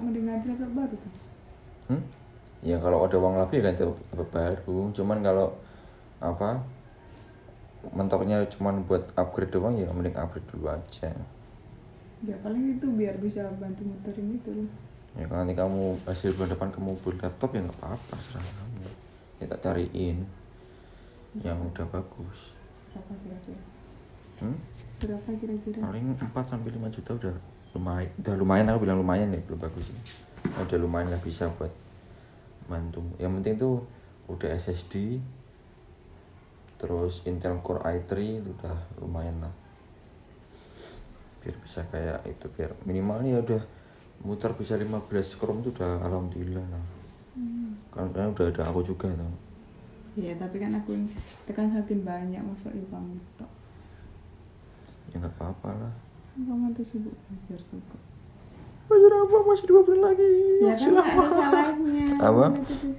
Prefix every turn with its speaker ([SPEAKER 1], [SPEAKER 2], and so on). [SPEAKER 1] ganti laptop baru tuh
[SPEAKER 2] Hmm? Ya kalau ada uang lebih ya ganti laptop baru. Cuman kalau apa mentoknya cuman buat upgrade doang ya mending upgrade dulu aja.
[SPEAKER 1] ya paling itu biar bisa bantu muterin itu loh
[SPEAKER 2] Ya kalau nanti kamu hasil bulan depan kamu beli laptop ya nggak apa-apa serah kamu. Ya tak cariin yang udah bagus.
[SPEAKER 1] berapa kira-kira
[SPEAKER 2] Hmm?
[SPEAKER 1] berapa kira-kira
[SPEAKER 2] Paling 4 sampai 5 juta udah lumayan. Udah lumayan aku bilang lumayan ya, belum bagus sih. Udah lumayan lah bisa buat bantu. Yang penting tuh udah SSD terus Intel Core i3 itu udah lumayan lah. Biar bisa kayak itu biar minimalnya ya udah muter bisa 15 Chrome tuh udah alhamdulillah lah.
[SPEAKER 1] Hmm.
[SPEAKER 2] Karena udah ada aku juga tuh.
[SPEAKER 1] ya tapi kan aku tekan saking banyak masuk kamu tok
[SPEAKER 2] Ya nggak apa-apa lah.
[SPEAKER 1] kamu tuh sibuk belajar tuh kok
[SPEAKER 2] Bayar apa masih dua bulan lagi.
[SPEAKER 1] ya kan nggak ada salahnya
[SPEAKER 2] Apa?
[SPEAKER 1] Itu tuh